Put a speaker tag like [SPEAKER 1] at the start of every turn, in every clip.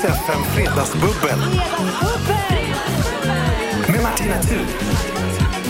[SPEAKER 1] säga fem fredagsbubbel med Martina Thun.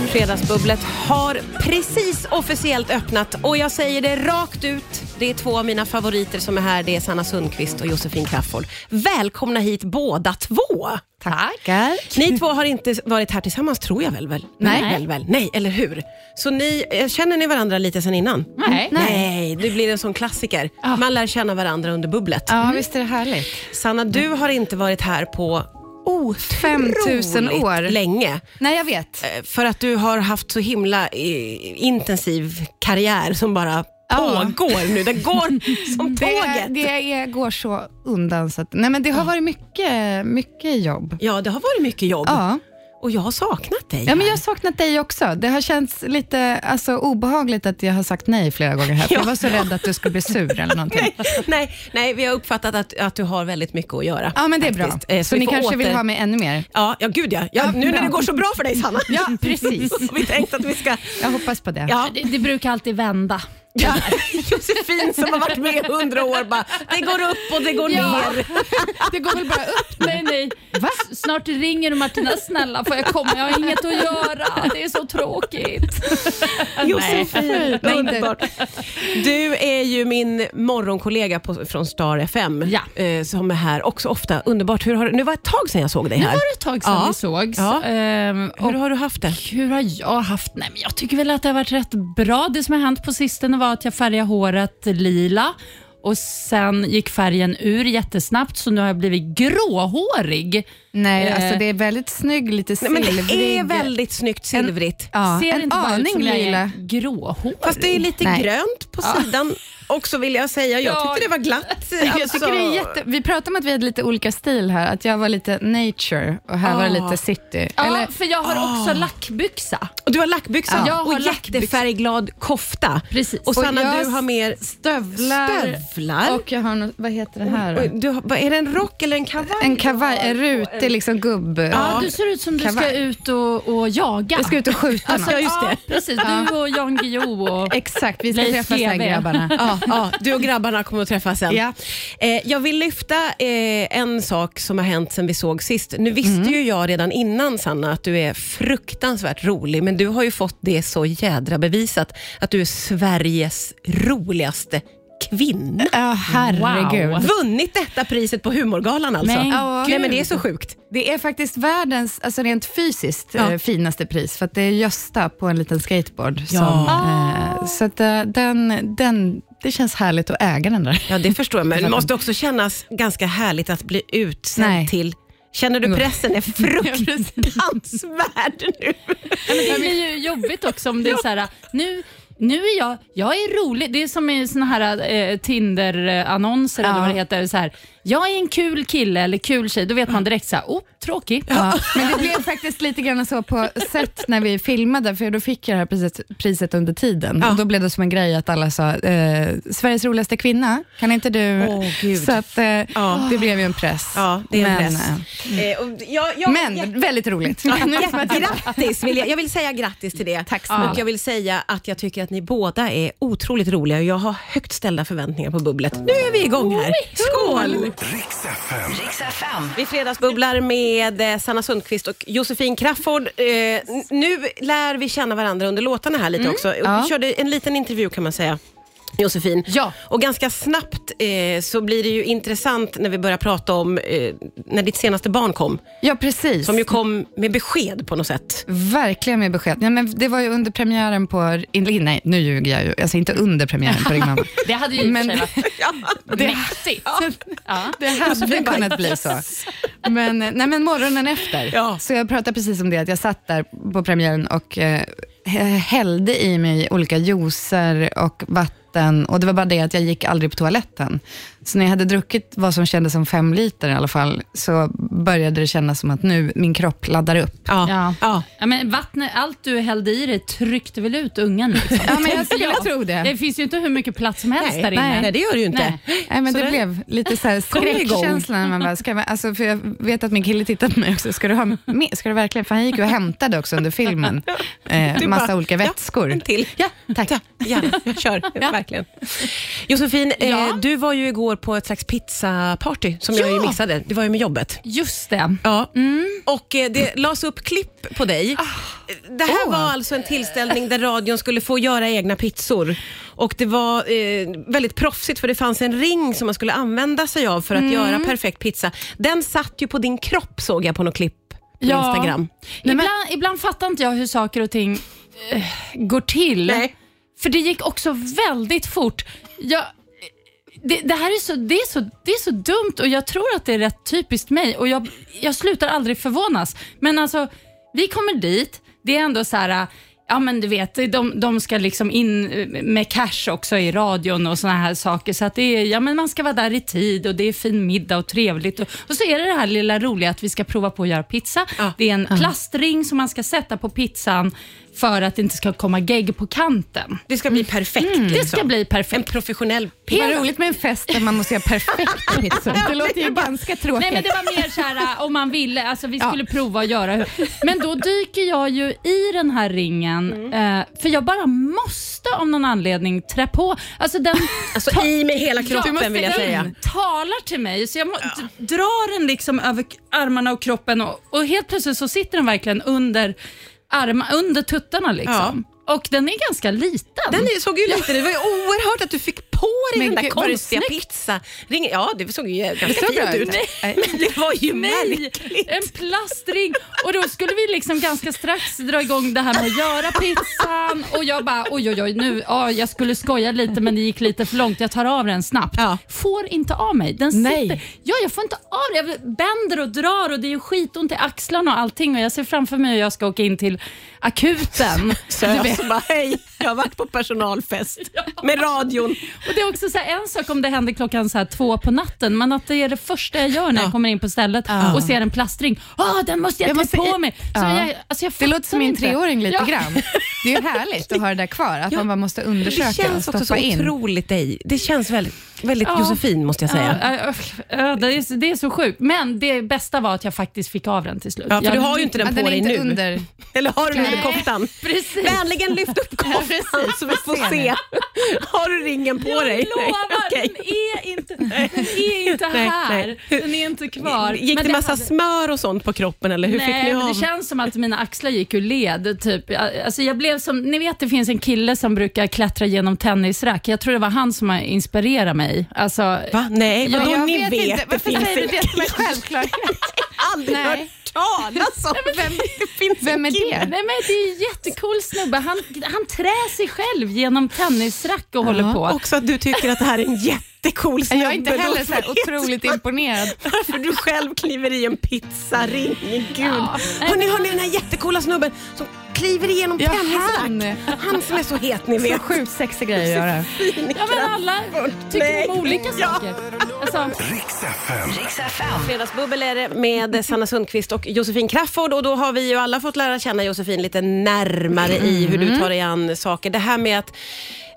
[SPEAKER 2] Fredagsbubblet har precis officiellt öppnat och jag säger det rakt ut. Det är två av mina favoriter som är här. Det är Sanna Sundqvist och Josefin Crafoord. Välkomna hit båda två.
[SPEAKER 3] Tackar.
[SPEAKER 2] Ni två har inte varit här tillsammans tror jag väl? väl?
[SPEAKER 3] Nej.
[SPEAKER 2] Väl, väl. Nej, eller hur? Så ni, eh, känner ni varandra lite sen innan? Mm.
[SPEAKER 3] Nej. Ah.
[SPEAKER 2] Nej, det blir en sån klassiker. Man lär känna varandra under bubblet.
[SPEAKER 3] Ja, visst är det härligt?
[SPEAKER 2] Sanna, du har inte varit här på otroligt
[SPEAKER 3] 5000 år.
[SPEAKER 2] länge.
[SPEAKER 3] Nej, jag vet.
[SPEAKER 2] Eh, För att du har haft så himla eh, intensiv karriär som bara
[SPEAKER 3] Ja.
[SPEAKER 2] pågår nu. Den går som
[SPEAKER 3] Det,
[SPEAKER 2] tåget.
[SPEAKER 3] det är, går så undan. Så att, nej, men det har varit mycket, mycket jobb.
[SPEAKER 2] Ja, det har varit mycket jobb
[SPEAKER 3] Ja.
[SPEAKER 2] och jag har saknat dig.
[SPEAKER 3] ja, men jag har saknat dig också. Det har känts lite alltså, obehagligt att jag har sagt nej flera gånger här. för
[SPEAKER 2] Ja.
[SPEAKER 3] Jag var så rädd att du skulle bli sur eller någonting.
[SPEAKER 2] nej, nej, vi har uppfattat att, att du har väldigt mycket att göra.
[SPEAKER 3] Ja, men det är bra.
[SPEAKER 2] faktiskt. Eh,
[SPEAKER 3] Så,
[SPEAKER 2] vi
[SPEAKER 3] ni
[SPEAKER 2] får
[SPEAKER 3] kanske vill
[SPEAKER 2] åter-
[SPEAKER 3] ha mig ännu mer?
[SPEAKER 2] Ja, ja gud ja. ja
[SPEAKER 3] Ja,
[SPEAKER 2] nu när
[SPEAKER 3] bra.
[SPEAKER 2] det går så bra för dig Sanna.
[SPEAKER 3] Ja, precis.
[SPEAKER 2] Så har vi tänkt att vi ska...
[SPEAKER 3] Jag hoppas på det.
[SPEAKER 2] Ja.
[SPEAKER 4] Det, det brukar alltid vända.
[SPEAKER 2] Ja. Josefin som har varit med i hundra år bara, det går upp och det går
[SPEAKER 4] Ja.
[SPEAKER 2] ner.
[SPEAKER 4] Det går väl bara upp? Nej, nej. S- Snart ringer du Martina, snälla får jag komma? Jag har inget att göra. Det är så tråkigt.
[SPEAKER 2] Josefin,
[SPEAKER 3] Nej, inte.
[SPEAKER 2] underbart. Du är ju min morgonkollega på, från Star FM
[SPEAKER 4] Ja.
[SPEAKER 2] eh, som är här också ofta. Underbart. Hur har, du- nu var det ett tag sedan jag såg dig
[SPEAKER 4] Nu
[SPEAKER 2] här.
[SPEAKER 4] var det ett tag sedan
[SPEAKER 2] Ja.
[SPEAKER 4] vi sågs.
[SPEAKER 2] Ja.
[SPEAKER 4] Ehm, och
[SPEAKER 2] Hur har du haft det?
[SPEAKER 4] hur har jag haft? Nej, men jag tycker väl att det har varit rätt bra. Det som har hänt på sistone var att jag färgade håret lila och sen gick färgen ur jättesnabbt så nu har jag blivit gråhårig.
[SPEAKER 3] Nej,
[SPEAKER 4] Eh.
[SPEAKER 3] alltså det är väldigt snygg, lite
[SPEAKER 2] Nej, men
[SPEAKER 3] silvrig.
[SPEAKER 2] det är väldigt snyggt silvrigt.
[SPEAKER 3] ja,
[SPEAKER 4] Ser det
[SPEAKER 3] en
[SPEAKER 4] inte bara ut
[SPEAKER 3] aning
[SPEAKER 4] som jag är
[SPEAKER 3] lila.
[SPEAKER 4] gråhårig?
[SPEAKER 2] Fast det är lite
[SPEAKER 3] Nej.
[SPEAKER 2] grönt på sidan också vill jag säga. Jag
[SPEAKER 4] Ja.
[SPEAKER 2] tyckte det var glatt. Alltså,
[SPEAKER 3] Jag tycker det är jätte, vi pratade om att vi hade lite olika stil här, att jag var lite nature och här var det
[SPEAKER 2] Ah.
[SPEAKER 3] lite city.
[SPEAKER 4] Ja,
[SPEAKER 3] Eller,
[SPEAKER 4] för jag har också lackbyxa.
[SPEAKER 2] Och du har lackbyxor
[SPEAKER 4] Ja. Jag har
[SPEAKER 2] och
[SPEAKER 4] lackbyxor.
[SPEAKER 2] jättefärgglad kofta.
[SPEAKER 4] Precis.
[SPEAKER 2] Och Sanna,
[SPEAKER 3] jag
[SPEAKER 2] du har mer
[SPEAKER 3] stövlar,
[SPEAKER 2] stövlar.
[SPEAKER 3] och jag har något, vad heter det här
[SPEAKER 2] Oj,
[SPEAKER 3] då?
[SPEAKER 2] du, har- vad- är det en rock eller en kavaj?
[SPEAKER 3] En kavaj, en rutig liksom gubb.
[SPEAKER 4] Ja, du ser ut som du ska
[SPEAKER 3] Kavaj.
[SPEAKER 4] ut och, och jaga.
[SPEAKER 3] Vi ska ut och skjuta
[SPEAKER 2] Alltså,
[SPEAKER 3] något.
[SPEAKER 2] just det.
[SPEAKER 4] Ja, precis. Du och Jan Guillou och...
[SPEAKER 3] Exakt, vi ska
[SPEAKER 4] Leif
[SPEAKER 3] träffas här
[SPEAKER 4] GW.
[SPEAKER 3] grabbarna.
[SPEAKER 2] Ja, ja, du och grabbarna kommer att träffas sen.
[SPEAKER 3] Ja.
[SPEAKER 2] Eh, jag vill lyfta eh, en sak som har hänt sen vi såg sist. Nu visste ju jag redan innan Sanna att du är fruktansvärt rolig, men du har ju fått det så jädra bevisat att du är Sveriges roligaste kvinna.
[SPEAKER 3] Ja, herregud.
[SPEAKER 4] Wow.
[SPEAKER 2] Vunnit detta priset på humorgalan alltså.
[SPEAKER 4] Men
[SPEAKER 2] Ja. Nej,
[SPEAKER 4] gud.
[SPEAKER 2] men det är så sjukt.
[SPEAKER 3] Det är faktiskt världens, alltså rent fysiskt,
[SPEAKER 2] Ja.
[SPEAKER 3] eh, finaste pris. För att det är Gösta på en liten skateboard.
[SPEAKER 2] Ja.
[SPEAKER 3] Som, eh, så att, eh, den, den, det känns härligt att äga den där.
[SPEAKER 2] Ja, det förstår jag, men det måste också kännas ganska härligt att bli utsedd
[SPEAKER 3] Nej.
[SPEAKER 2] till Känner du pressen är fruktansvärd nu?
[SPEAKER 4] Det blir ju jobbigt också om det är så här, nu, nu är jag, jag är rolig. Det är som i såna här eh, Tinder-annonser eller vad det heter. Så här, jag är en kul kille eller kul tjej. Då vet man direkt så här, oh, tråkig.
[SPEAKER 3] Ja, men det blev faktiskt lite grann så på set när vi filmade, för då fick jag det här priset, priset under tiden. Och då blev det som en grej att alla sa, eh, Sveriges roligaste kvinna, kan inte du?
[SPEAKER 2] Åh, Gud.
[SPEAKER 3] så att, eh, det blev ju en press.
[SPEAKER 2] Ja, det är en
[SPEAKER 3] men,
[SPEAKER 2] press.
[SPEAKER 3] eh,
[SPEAKER 2] Eh, och jag, jag,
[SPEAKER 3] Men
[SPEAKER 2] jag,
[SPEAKER 3] väldigt roligt.
[SPEAKER 2] Ja, grattis! Vill jag, jag vill säga grattis till det.
[SPEAKER 3] Tack snälla.
[SPEAKER 2] och jag vill säga att jag tycker att ni båda är otroligt roliga och jag har högt ställda förväntningar på bubblet. Nu är vi igång här. Skål!
[SPEAKER 1] Riks FM.
[SPEAKER 2] Vi fredagsbubblar med eh, Sanna Sundqvist och Josefin Crafoord. Eh, n- nu lär vi känna varandra under låtarna här lite också. Och Vi körde en liten intervju kan man säga. Josefin.
[SPEAKER 4] Ja.
[SPEAKER 2] Och ganska snabbt eh, så blir det ju intressant när vi börjar prata om eh, när ditt senaste barn kom.
[SPEAKER 3] ja, precis.
[SPEAKER 2] Som ju kom med besked på något sätt.
[SPEAKER 3] Verkligen med besked. Nej, men det var ju under premiären på... in- Nej, nu ljuger jag ju. Alltså inte under premiären på Ring Mamma.
[SPEAKER 4] Det hade ju men,
[SPEAKER 3] Men-
[SPEAKER 4] varit mäktigt. Ja.
[SPEAKER 3] Det hade ju kunnat bli så. Men, eh, nej, men morgonen efter.
[SPEAKER 2] Ja.
[SPEAKER 3] Så jag pratade precis om det, att jag satt där på premiären och eh, hä- hällde i mig olika juicer och vatten. Och det var bara det att jag gick aldrig på toaletten. Så när jag hade druckit vad som kändes som fem liter i alla fall, så började det kännas som att nu min kropp laddar upp.
[SPEAKER 4] Ja.
[SPEAKER 2] Ja.
[SPEAKER 4] Ja, men vattnet, allt du hällde i dig tryckte väl ut ungen? Liksom.
[SPEAKER 3] Ja, men jag skulle
[SPEAKER 4] Ja.
[SPEAKER 3] tro det.
[SPEAKER 4] Det finns ju inte hur mycket plats som helst
[SPEAKER 2] Nej,
[SPEAKER 4] där inne.
[SPEAKER 2] nej, det gör det ju inte.
[SPEAKER 3] Nej, men
[SPEAKER 2] Så
[SPEAKER 3] det,
[SPEAKER 2] det-
[SPEAKER 3] blev lite så här
[SPEAKER 2] igång.
[SPEAKER 3] skräckkänsla. När man bara, ska man, alltså, för jag vet att min kille tittade på mig också. Ska du, ha med, ska du verkligen? För han gick ju och hämtade också under filmen. Eh,
[SPEAKER 2] Du
[SPEAKER 3] massa
[SPEAKER 2] bara,
[SPEAKER 3] olika vätskor.
[SPEAKER 2] Ja, en till.
[SPEAKER 3] Ja, tack.
[SPEAKER 2] Ja, jag kör. Ja. verkligen. Josefin, eh,
[SPEAKER 4] Ja.
[SPEAKER 2] du var ju igår på ett slags pizzaparty som jag
[SPEAKER 4] Ja.
[SPEAKER 2] ju missade. Det var ju med jobbet.
[SPEAKER 4] Just det.
[SPEAKER 2] Ja.
[SPEAKER 3] Mm.
[SPEAKER 2] Och eh, det lades upp klipp på dig.
[SPEAKER 3] Ah.
[SPEAKER 2] Det här var alltså en tillställning där radion skulle få göra egna pizzor. Och det var eh, väldigt proffsigt för det fanns en ring som man skulle använda sig av för att
[SPEAKER 3] Mm.
[SPEAKER 2] göra perfekt pizza. Den satt ju på din kropp såg jag på något klipp på Instagram.
[SPEAKER 4] Ibland, ibland fattar inte jag hur saker och ting eh, går till.
[SPEAKER 2] Nej.
[SPEAKER 4] För det gick också väldigt fort. Jag, det, det här är så, det är, så, det är så dumt och jag tror att det är rätt typiskt mig och jag, jag slutar aldrig förvånas. Men alltså, vi kommer dit, det är ändå så här, ja men du vet, de, de ska liksom in med cash också i radion och såna här saker. Så att det är, ja men man ska vara där i tid och det är fin middag och trevligt. Och, och så är det det här lilla roliga att vi ska prova på att göra pizza.
[SPEAKER 2] Ja.
[SPEAKER 4] Det är en plastring som man ska sätta på pizzan för att det inte ska komma gegg på kanten.
[SPEAKER 2] Det ska
[SPEAKER 3] Mm.
[SPEAKER 2] bli perfekt.
[SPEAKER 4] Det ska bli
[SPEAKER 2] Mm. Liksom. En
[SPEAKER 4] perfekt.
[SPEAKER 2] professionell
[SPEAKER 3] Vad roligt med en fest där man måste göra perfekt pizzor. Det låter ju ganska tråkigt.
[SPEAKER 4] Nej men det var mer så här äh, om man ville, alltså vi skulle prova att göra. hur- Men då dyker jag ju i den här ringen,
[SPEAKER 2] Mm.
[SPEAKER 4] eh, för jag bara måste av någon anledning trä på. Alltså den
[SPEAKER 2] Alltså i med hela kroppen
[SPEAKER 4] Ja,
[SPEAKER 2] vill jag
[SPEAKER 4] den
[SPEAKER 2] säga.
[SPEAKER 4] talar till mig, så jag må, drar den liksom över k- armarna och kroppen och, och helt plötsligt så sitter den verkligen under, arma, under tuttarna liksom. Och den är ganska liten.
[SPEAKER 2] Den är- såg ju lite, det var ju oerhört att du fick på dig
[SPEAKER 3] Men
[SPEAKER 2] den där
[SPEAKER 3] gud, var det
[SPEAKER 2] konstiga pizzaringen. Ja, det såg ju ganska
[SPEAKER 3] såg bra
[SPEAKER 2] fint ut.
[SPEAKER 3] ut. Nej.
[SPEAKER 2] Men det var ju
[SPEAKER 4] Nej,
[SPEAKER 2] märkligt.
[SPEAKER 4] en plastring. Och då skulle vi liksom ganska strax dra igång det här med att göra pizzan. Och jag bara, oj oj oj, nu, ja, jag skulle skoja lite men det gick lite för långt. Jag tar av den snabbt.
[SPEAKER 2] Ja.
[SPEAKER 4] Får inte av mig. Den sitter.
[SPEAKER 3] Nej.
[SPEAKER 4] Ja, jag får inte av den. Jag bänder och drar och det är skitont i axlarna och allting. Och jag ser framför mig hur jag ska åka in till akuten.
[SPEAKER 2] Så jag så bara, hej, jag har varit på personalfest med radion.
[SPEAKER 4] Och Det är också så här, en sak om det händer klockan så här två på natten, men att det är det första jag gör när jag kommer in på stället och ser en plastring. Åh, den måste jag,
[SPEAKER 3] Jag måste
[SPEAKER 4] ta på
[SPEAKER 3] i-
[SPEAKER 4] mig! Så
[SPEAKER 3] Ja.
[SPEAKER 4] jag, alltså jag
[SPEAKER 3] Det
[SPEAKER 4] fattar
[SPEAKER 3] låter som min
[SPEAKER 4] inte.
[SPEAKER 3] treåring lite
[SPEAKER 4] Ja.
[SPEAKER 3] grann. Det är ju härligt att ha det där kvar, att man bara måste undersöka
[SPEAKER 2] Det känns
[SPEAKER 3] och
[SPEAKER 2] också så
[SPEAKER 3] stoppa in.
[SPEAKER 2] otroligt dig. Det känns väldigt, väldigt
[SPEAKER 4] Ja.
[SPEAKER 2] Josefin måste jag säga. Ja.
[SPEAKER 4] Ja, äh, äh, det, är, det är så sjukt, men det bästa var att jag faktiskt fick av den till slut.
[SPEAKER 2] för
[SPEAKER 4] jag,
[SPEAKER 2] du har ju inte den
[SPEAKER 3] Men
[SPEAKER 2] på
[SPEAKER 3] den är
[SPEAKER 2] dig
[SPEAKER 3] inte
[SPEAKER 2] nu.
[SPEAKER 3] under...
[SPEAKER 2] Eller har du den under
[SPEAKER 3] Nej.
[SPEAKER 2] koftan?
[SPEAKER 4] Precis.
[SPEAKER 2] Vänligen lyft upp koftan så vi får se. Har du ringen på
[SPEAKER 4] jag
[SPEAKER 2] dig? Nej,
[SPEAKER 4] lovar,
[SPEAKER 2] okej.
[SPEAKER 4] den är inte, den är inte
[SPEAKER 2] Nej,
[SPEAKER 4] här.
[SPEAKER 2] nej.
[SPEAKER 4] Den är inte kvar.
[SPEAKER 2] Gick
[SPEAKER 4] Men
[SPEAKER 2] det massa
[SPEAKER 4] hade-
[SPEAKER 2] smör och sånt på kroppen eller hur
[SPEAKER 4] Nej,
[SPEAKER 2] fick ni
[SPEAKER 4] men
[SPEAKER 2] av?
[SPEAKER 4] det känns som att mina axlar gick ur led. Typ. Alltså jag blev som, ni vet det finns en kille som brukar klättra genom tennisrack. Jag tror det var han som har inspirerat mig. Alltså,
[SPEAKER 2] Va? Nej,
[SPEAKER 4] Ja,
[SPEAKER 2] vadå
[SPEAKER 4] jag
[SPEAKER 2] ni vet,
[SPEAKER 3] inte.
[SPEAKER 2] det
[SPEAKER 3] Varför
[SPEAKER 2] finns
[SPEAKER 3] säger du
[SPEAKER 2] en
[SPEAKER 3] det som en självklarhet?
[SPEAKER 2] aldrig
[SPEAKER 3] Nej.
[SPEAKER 2] hört talas om. Vem, det finns
[SPEAKER 3] Vem är
[SPEAKER 2] en kille.
[SPEAKER 4] Nej,
[SPEAKER 3] det?
[SPEAKER 4] men det är en jättecool snubbe. Han, han trär sig själv genom tennisrack och håller på.
[SPEAKER 2] Också att du tycker att det här är en jättecool snubbe.
[SPEAKER 3] Jag är inte
[SPEAKER 2] då,
[SPEAKER 3] heller så här
[SPEAKER 2] för-
[SPEAKER 3] otroligt imponerad.
[SPEAKER 2] Varför du själv kliver i en pizzaring. Gud.
[SPEAKER 4] Ja.
[SPEAKER 2] Hörni, hörni, den här jättecoola snubben som kliver igenom
[SPEAKER 3] Ja,
[SPEAKER 2] tennisrack. Han. som är så het ni vet.
[SPEAKER 3] Sjukt sexiga grejer att göra.
[SPEAKER 4] Ja, men alla tycker om
[SPEAKER 2] Nej.
[SPEAKER 4] olika
[SPEAKER 2] Ja.
[SPEAKER 4] saker. Alltså,
[SPEAKER 1] Riks FM.
[SPEAKER 2] Fredagsbubbel är det med Sanna Sundqvist och Josefin Crafoord och då har vi ju alla fått lära känna Josefin lite närmare i hur du tar dig an saker. Det här med att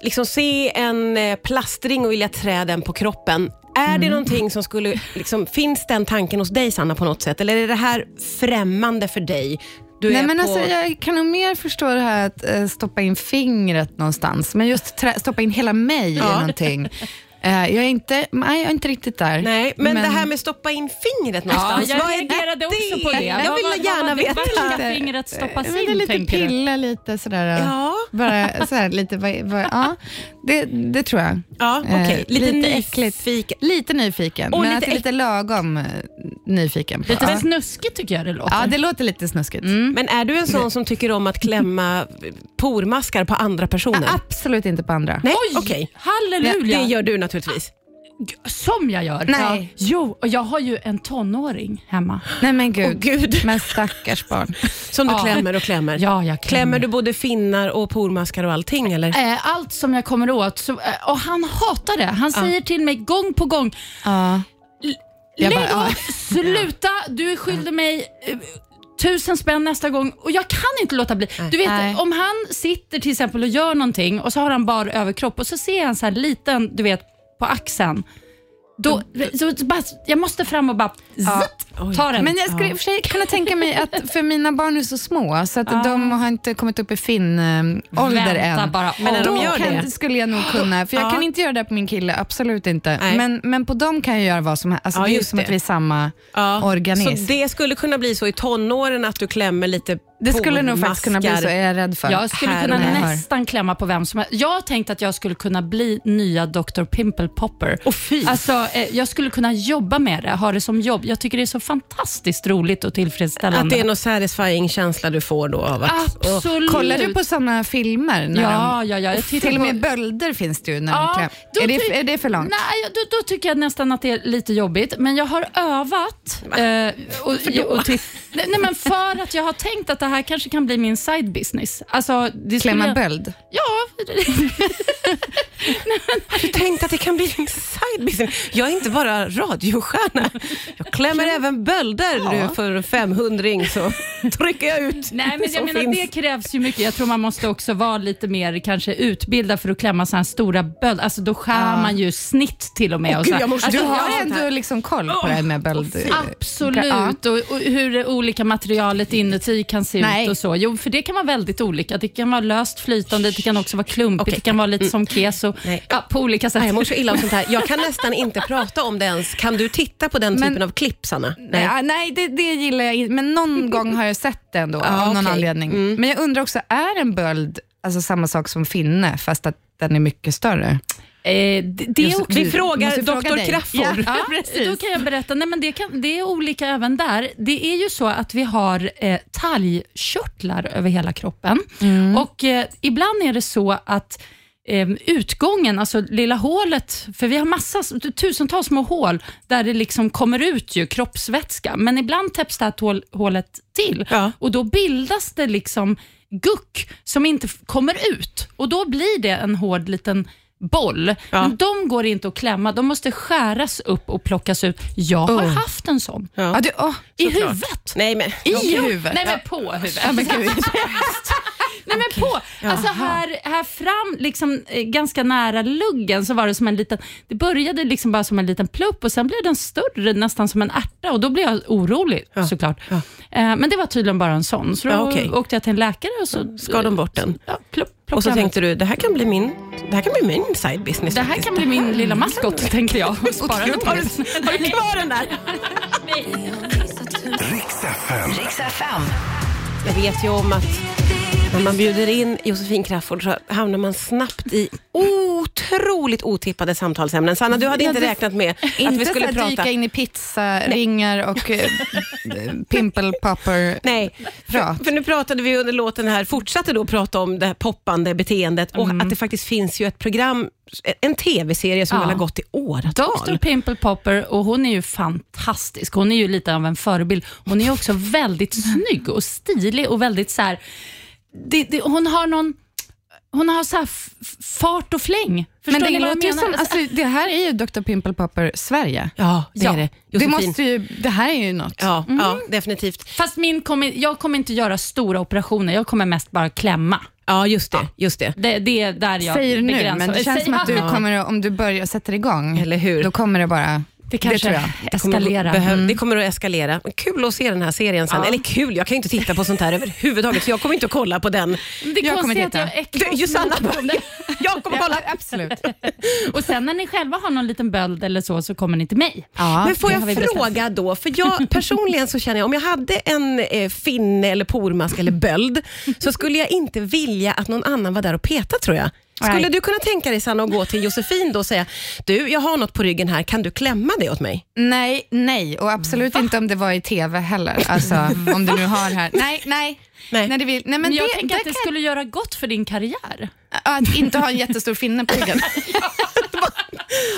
[SPEAKER 2] liksom se en eh, plastring och vilja trä den på kroppen. Är det någonting som skulle, liksom, finns den tanken hos dig Sanna på något sätt eller är det här främmande för dig? Du
[SPEAKER 3] Nej,
[SPEAKER 2] är
[SPEAKER 3] men
[SPEAKER 2] på...
[SPEAKER 3] alltså, jag kan nog mer förstå det här att eh, stoppa in fingret någonstans, men just trä- stoppa in hela mig i någonting. Eh, jag, är inte, nej, jag är inte riktigt där.
[SPEAKER 2] Nej, men, det här med stoppa in fingret någonstans.
[SPEAKER 4] jag
[SPEAKER 2] vad är
[SPEAKER 4] reagerade också på det.
[SPEAKER 2] Jag
[SPEAKER 4] Vad var-
[SPEAKER 2] vill
[SPEAKER 4] vad
[SPEAKER 2] gärna
[SPEAKER 4] var det
[SPEAKER 2] veta.
[SPEAKER 4] värsta?
[SPEAKER 3] Lite-
[SPEAKER 4] fingret stoppas
[SPEAKER 3] Ja, men det är
[SPEAKER 4] in,
[SPEAKER 3] Lite
[SPEAKER 4] tänker du?
[SPEAKER 3] pilla lite sådär.
[SPEAKER 2] Ja.
[SPEAKER 3] Bara sådär lite, vad, vad, ja. Det, det tror jag.
[SPEAKER 2] Ja, okej.
[SPEAKER 3] Eh,
[SPEAKER 2] Lite,
[SPEAKER 3] äckligt.
[SPEAKER 2] nyfiken.
[SPEAKER 3] Lite nyfiken,
[SPEAKER 2] Och
[SPEAKER 3] men
[SPEAKER 2] lite
[SPEAKER 3] att det är lite lagom eh, nyfiken. På.
[SPEAKER 4] lite
[SPEAKER 3] ja.
[SPEAKER 4] snuskigt tycker jag det låter.
[SPEAKER 3] ja, det låter lite snuskigt.
[SPEAKER 2] Men är du en sån som tycker om att klämma pormaskar på andra
[SPEAKER 3] Ah,
[SPEAKER 2] personer?
[SPEAKER 3] Absolut inte på andra.
[SPEAKER 2] Nej,
[SPEAKER 4] Oj,
[SPEAKER 2] okej.
[SPEAKER 4] halleluja.
[SPEAKER 2] Det gör du naturligtvis.
[SPEAKER 4] Som jag gör.
[SPEAKER 3] Nej.
[SPEAKER 4] Ja. Jo, och jag har ju en tonåring hemma.
[SPEAKER 3] Nej, men gud.
[SPEAKER 2] Åh, gud.
[SPEAKER 3] Men stackars barn.
[SPEAKER 2] Som du
[SPEAKER 4] Ja.
[SPEAKER 2] klämmer och klämmer.
[SPEAKER 4] Ja,
[SPEAKER 2] Klämmer
[SPEAKER 4] jag klämmer.
[SPEAKER 2] du både finnar och pormaskar och allting eller?
[SPEAKER 4] Eh, Allt som jag kommer åt. Så, eh, och han hatar det. Han säger till mig gång på gång.
[SPEAKER 3] Ja. Jag
[SPEAKER 4] Lägg
[SPEAKER 3] bara, "Ah." ja.
[SPEAKER 4] av! Sluta! Du är skyldig mig eh, tusen spänn nästa gång och jag kan inte låta bli. Du vet,
[SPEAKER 3] Nej.
[SPEAKER 4] om han sitter till exempel och gör någonting och så har han bara överkropp och så ser jag en så här liten, du vet, på axeln. Då, så, bara, jag måste fram och bara...
[SPEAKER 3] Mm. Ja.
[SPEAKER 4] Zitt, Ta den.
[SPEAKER 3] Men jag skulle i och för sig kunna tänka mig att, för mina barn är så små, så att de har inte kommit upp i Finn-ålder
[SPEAKER 4] Vänta
[SPEAKER 3] än.
[SPEAKER 4] bara. Men när
[SPEAKER 3] då
[SPEAKER 2] de gör
[SPEAKER 3] kan,
[SPEAKER 2] det-
[SPEAKER 3] skulle jag nog kunna, för jag
[SPEAKER 2] Ja.
[SPEAKER 3] kan inte göra det på min kille, absolut inte.
[SPEAKER 2] Nej.
[SPEAKER 3] Men, men på dem kan jag göra vad som helst. Alltså,
[SPEAKER 2] Ja,
[SPEAKER 3] det är ju
[SPEAKER 2] just
[SPEAKER 3] som
[SPEAKER 2] det.
[SPEAKER 3] att vi är samma organism.
[SPEAKER 2] Så
[SPEAKER 3] det
[SPEAKER 2] det skulle kunna bli så i tonåren att du klämmer lite
[SPEAKER 3] skulle nog faktiskt kunna bli så, eh,
[SPEAKER 2] pormaskar.
[SPEAKER 3] är jag rädd för.
[SPEAKER 4] Jag skulle
[SPEAKER 2] Här
[SPEAKER 4] kunna
[SPEAKER 2] och där.
[SPEAKER 4] nästan klämma på vem som helst. Jag tänkte att jag skulle kunna bli nya Dr. Pimple Popper.
[SPEAKER 2] Åh, fy.
[SPEAKER 4] Alltså, eh, jag skulle kunna jobba med det, ha det som jobb. Jag tycker det är så fantastiskt roligt och tillfredsställande.
[SPEAKER 2] Att det är någon satisfying känsla du får då av att... och-
[SPEAKER 4] Absolut.
[SPEAKER 3] Kollar du på sådana filmer? När
[SPEAKER 4] Ja,
[SPEAKER 3] de,
[SPEAKER 4] ja, ja, jag tittar
[SPEAKER 3] till och med
[SPEAKER 4] på-
[SPEAKER 3] bölder finns det ju när de
[SPEAKER 4] Ja,
[SPEAKER 3] klär.
[SPEAKER 4] då
[SPEAKER 3] Är
[SPEAKER 4] ty-
[SPEAKER 3] det, är det för långt?
[SPEAKER 4] Nej, då, då tycker jag nästan att det är lite jobbigt. Men jag har övat. Eh, och, och, och till, nej, nej, men för att jag har tänkt att det här kanske kan bli min side business. Alltså, det skulle
[SPEAKER 3] Klämma
[SPEAKER 4] jag-
[SPEAKER 3] böld?
[SPEAKER 4] Ja,
[SPEAKER 2] Du tänkte att det kan bli en side business. Jag är inte bara radiostjärna. Jag klämmer även bölder nu för en 500 så trycker jag ut
[SPEAKER 4] Nej, men jag
[SPEAKER 2] som
[SPEAKER 4] menar,
[SPEAKER 2] finns.
[SPEAKER 4] det krävs ju mycket. Jag tror man måste också vara lite mer kanske utbildad för att klämma så här stora böld. Alltså då skär man ju snitt till och med. och
[SPEAKER 2] gud,
[SPEAKER 4] så här.
[SPEAKER 2] jag måste-
[SPEAKER 4] alltså,
[SPEAKER 3] Du
[SPEAKER 4] jag-
[SPEAKER 3] har ändå liksom koll på det här med böld?
[SPEAKER 4] Absolut,
[SPEAKER 3] Ja.
[SPEAKER 4] och, och hur det olika materialet inuti kan se
[SPEAKER 3] Nej.
[SPEAKER 4] ut och så. Jo, för det kan vara väldigt olika. Det kan vara löst flytande, det kan också vara klumpigt,
[SPEAKER 2] Okej. Mm.
[SPEAKER 4] det kan vara lite som keso.
[SPEAKER 2] Nej.
[SPEAKER 4] Ja, på olika sätt.
[SPEAKER 2] Nej, jag mår så illa om sånt här. Jag kan nästan inte prata om det ens. Kan du titta på den
[SPEAKER 3] Men-
[SPEAKER 2] typen av klipp, Sanna?
[SPEAKER 3] Nej, ah, nej det, det gillar jag inte, men någon gång har jag sett det ändå
[SPEAKER 2] Ja,
[SPEAKER 3] av någon
[SPEAKER 2] okej. Mm.
[SPEAKER 3] anledning. Men jag undrar också, är en böld alltså samma sak som finne, fast att den är mycket större?
[SPEAKER 4] Eh, det, det är
[SPEAKER 3] Just-
[SPEAKER 4] också
[SPEAKER 2] Vi
[SPEAKER 3] Du
[SPEAKER 2] frågar
[SPEAKER 3] måste fråga
[SPEAKER 2] doktor
[SPEAKER 3] dig.
[SPEAKER 2] Kraffor.
[SPEAKER 3] Ja.
[SPEAKER 4] Ja, då kan jag berätta. Nej, men det, kan, det är olika även där. Det är ju så att vi har eh, talgkörtlar över hela kroppen. Och eh, Ibland är det så att eh, utgången, alltså lilla hålet, för vi har massa, tusentals små hål där det liksom kommer ut ju kroppsvätska, men ibland täpps det här tål, hålet till
[SPEAKER 2] Ja.
[SPEAKER 4] och då bildas det liksom guck som inte f- kommer ut och då blir det en hård liten boll.
[SPEAKER 2] Ja.
[SPEAKER 4] Men de går inte att klämma, de måste skäras upp och plockas ut. Jag har haft en sån.
[SPEAKER 2] Ja.
[SPEAKER 3] Oh. Ja, du, åh,
[SPEAKER 4] I huvudet.
[SPEAKER 2] Nej, men...
[SPEAKER 3] I
[SPEAKER 4] Jo,
[SPEAKER 3] huvudet?
[SPEAKER 4] Nej, men på huvudet.
[SPEAKER 3] Ja, men gud.
[SPEAKER 4] Nej, men på. Alltså här, här fram, liksom, eh, ganska nära luggen, så var det som en liten... Det började liksom bara som en liten plupp och sen blev den större, nästan som en ärta. Och då blev jag orolig såklart. Eh, Men det var tydligen bara en sån, så då
[SPEAKER 2] Ja, okej.
[SPEAKER 4] åkte jag till en läkare och så...
[SPEAKER 2] Skar de bort den?
[SPEAKER 4] Ja, plupp,
[SPEAKER 2] Och så
[SPEAKER 4] plockade
[SPEAKER 2] tänkte du, det här kan bli min, det här kan bli min side business.
[SPEAKER 4] Det här
[SPEAKER 2] faktiskt.
[SPEAKER 4] kan bli min lilla maskot, tänker jag. Och spara lite
[SPEAKER 2] Har
[SPEAKER 4] pengar.
[SPEAKER 2] du, har du kvar den där?
[SPEAKER 1] Riks FM.
[SPEAKER 2] Jag vet ju om att när man bjuder in Josefin Crafoord så hamnar man snabbt i otroligt otippade samtalsämnen. Sanna, du hade
[SPEAKER 3] Ja,
[SPEAKER 2] inte
[SPEAKER 3] det-
[SPEAKER 2] räknat med att
[SPEAKER 3] Inte
[SPEAKER 2] vi
[SPEAKER 3] så
[SPEAKER 2] skulle
[SPEAKER 3] här
[SPEAKER 2] prata...
[SPEAKER 3] dyka in i pizza, ringar och eh, pimple popper.
[SPEAKER 2] Nej,
[SPEAKER 3] Prat.
[SPEAKER 2] för, för nu pratade vi under låten här, fortsatte då prata om det här poppande beteendet och
[SPEAKER 3] Mm.
[SPEAKER 2] att det faktiskt finns ju ett program, en tv-serie som
[SPEAKER 4] Ja.
[SPEAKER 2] väl har gått i
[SPEAKER 4] Dr.
[SPEAKER 2] åratal.
[SPEAKER 4] Pimple Popper och hon är ju fantastisk. Hon är ju lite av en förebild. Hon är också väldigt snygg och stilig och väldigt så här... Det, det, hon har någon... Hon har så här f- f- fart och fläng. Förstår
[SPEAKER 3] Men det
[SPEAKER 4] ni vad jag
[SPEAKER 3] låter ju
[SPEAKER 4] menar?
[SPEAKER 3] som, alltså, det här är ju Dr. Pimple Popper Sverige.
[SPEAKER 2] Ja, det
[SPEAKER 4] Ja.
[SPEAKER 2] är det.
[SPEAKER 3] Det,
[SPEAKER 2] Josefin.
[SPEAKER 3] måste ju, Mm. det här är ju något.
[SPEAKER 2] ja, ja, definitivt.
[SPEAKER 4] Fast min kommer, jag kommer inte göra stora operationer. Jag kommer mest bara klämma.
[SPEAKER 2] Ja, just det. Just det.
[SPEAKER 4] Det, det är där jag
[SPEAKER 3] Säger du nu,
[SPEAKER 4] begränsar
[SPEAKER 3] men
[SPEAKER 4] mig.
[SPEAKER 3] det känns
[SPEAKER 4] Säger
[SPEAKER 3] som att du
[SPEAKER 4] man-
[SPEAKER 3] kommer, att- om du börjar sätter igång,
[SPEAKER 2] Eller hur?
[SPEAKER 3] då kommer det bara...
[SPEAKER 4] Det kanske
[SPEAKER 3] tror jag.
[SPEAKER 2] kommer
[SPEAKER 4] eskalerar.
[SPEAKER 2] behö-
[SPEAKER 3] Mm.
[SPEAKER 2] Det kommer att eskalera. Kul att se den här serien sen. Eller kul, jag kan ju inte titta på sånt här överhuvudtaget, så jag kommer inte att kolla på den.
[SPEAKER 4] Det är
[SPEAKER 3] Jag kommer
[SPEAKER 4] konstigt att
[SPEAKER 3] titta.
[SPEAKER 4] jag äcklar
[SPEAKER 2] Du,
[SPEAKER 4] mig
[SPEAKER 2] Josanna,
[SPEAKER 4] så mycket om det.
[SPEAKER 2] jag kommer kolla.
[SPEAKER 3] Absolut.
[SPEAKER 4] Och sen när ni själva har någon liten böld eller så, så kommer ni till mig.
[SPEAKER 3] Ja,
[SPEAKER 2] Men får
[SPEAKER 4] det har
[SPEAKER 2] jag
[SPEAKER 4] vi bestämt.
[SPEAKER 2] fråga då, för jag personligen så känner jag om jag hade en eh, finne eller pormask eller böld så skulle jag inte vilja att någon annan var där och peta tror jag. Skulle
[SPEAKER 3] Nej.
[SPEAKER 2] du kunna tänka dig Sanna att gå till Josefin då och säga, du jag har något på ryggen här, kan du klämma det åt mig?
[SPEAKER 3] Nej, nej och absolut inte om det var i tv heller. Alltså, om du nu har här. Nej, nej.
[SPEAKER 2] Nej.
[SPEAKER 3] det vill, nej men
[SPEAKER 4] Men jag
[SPEAKER 3] det,
[SPEAKER 4] tänker
[SPEAKER 3] det
[SPEAKER 4] att det
[SPEAKER 3] kan,
[SPEAKER 4] skulle göra gott för din karriär.
[SPEAKER 3] att inte ha en jättestor finne på ryggen.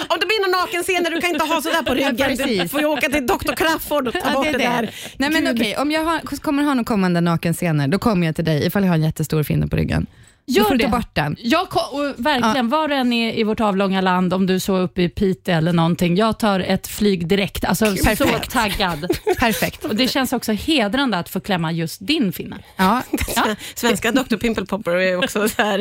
[SPEAKER 2] Om det blir någon nakenscener, du kan inte ha sådär på ryggen. Du
[SPEAKER 3] precis.
[SPEAKER 2] får ju åka till Dr. Crafoord och ta
[SPEAKER 3] Ja,
[SPEAKER 2] bort
[SPEAKER 3] det
[SPEAKER 2] det,
[SPEAKER 3] är det.
[SPEAKER 2] där.
[SPEAKER 3] Nej, men
[SPEAKER 2] Gud.
[SPEAKER 3] okej, om jag har, kommer ha någon kommande nakenscener, då kommer jag till dig ifall jag har en jättestor finne på ryggen. Då får
[SPEAKER 4] Gör
[SPEAKER 3] du ta
[SPEAKER 4] det.
[SPEAKER 3] bort den.
[SPEAKER 4] Jag, ko- och verkligen, var du än är i vårt avlånga land, om du så är uppe i Piteå eller någonting, jag tar ett flyg direkt. Alltså, så
[SPEAKER 3] Perfekt.
[SPEAKER 4] taggad.
[SPEAKER 3] Perfekt.
[SPEAKER 4] Och det känns också hedrande att få klämma just din finne.
[SPEAKER 3] Ja,
[SPEAKER 2] Svenska Dr. Pimple Popper är också så här.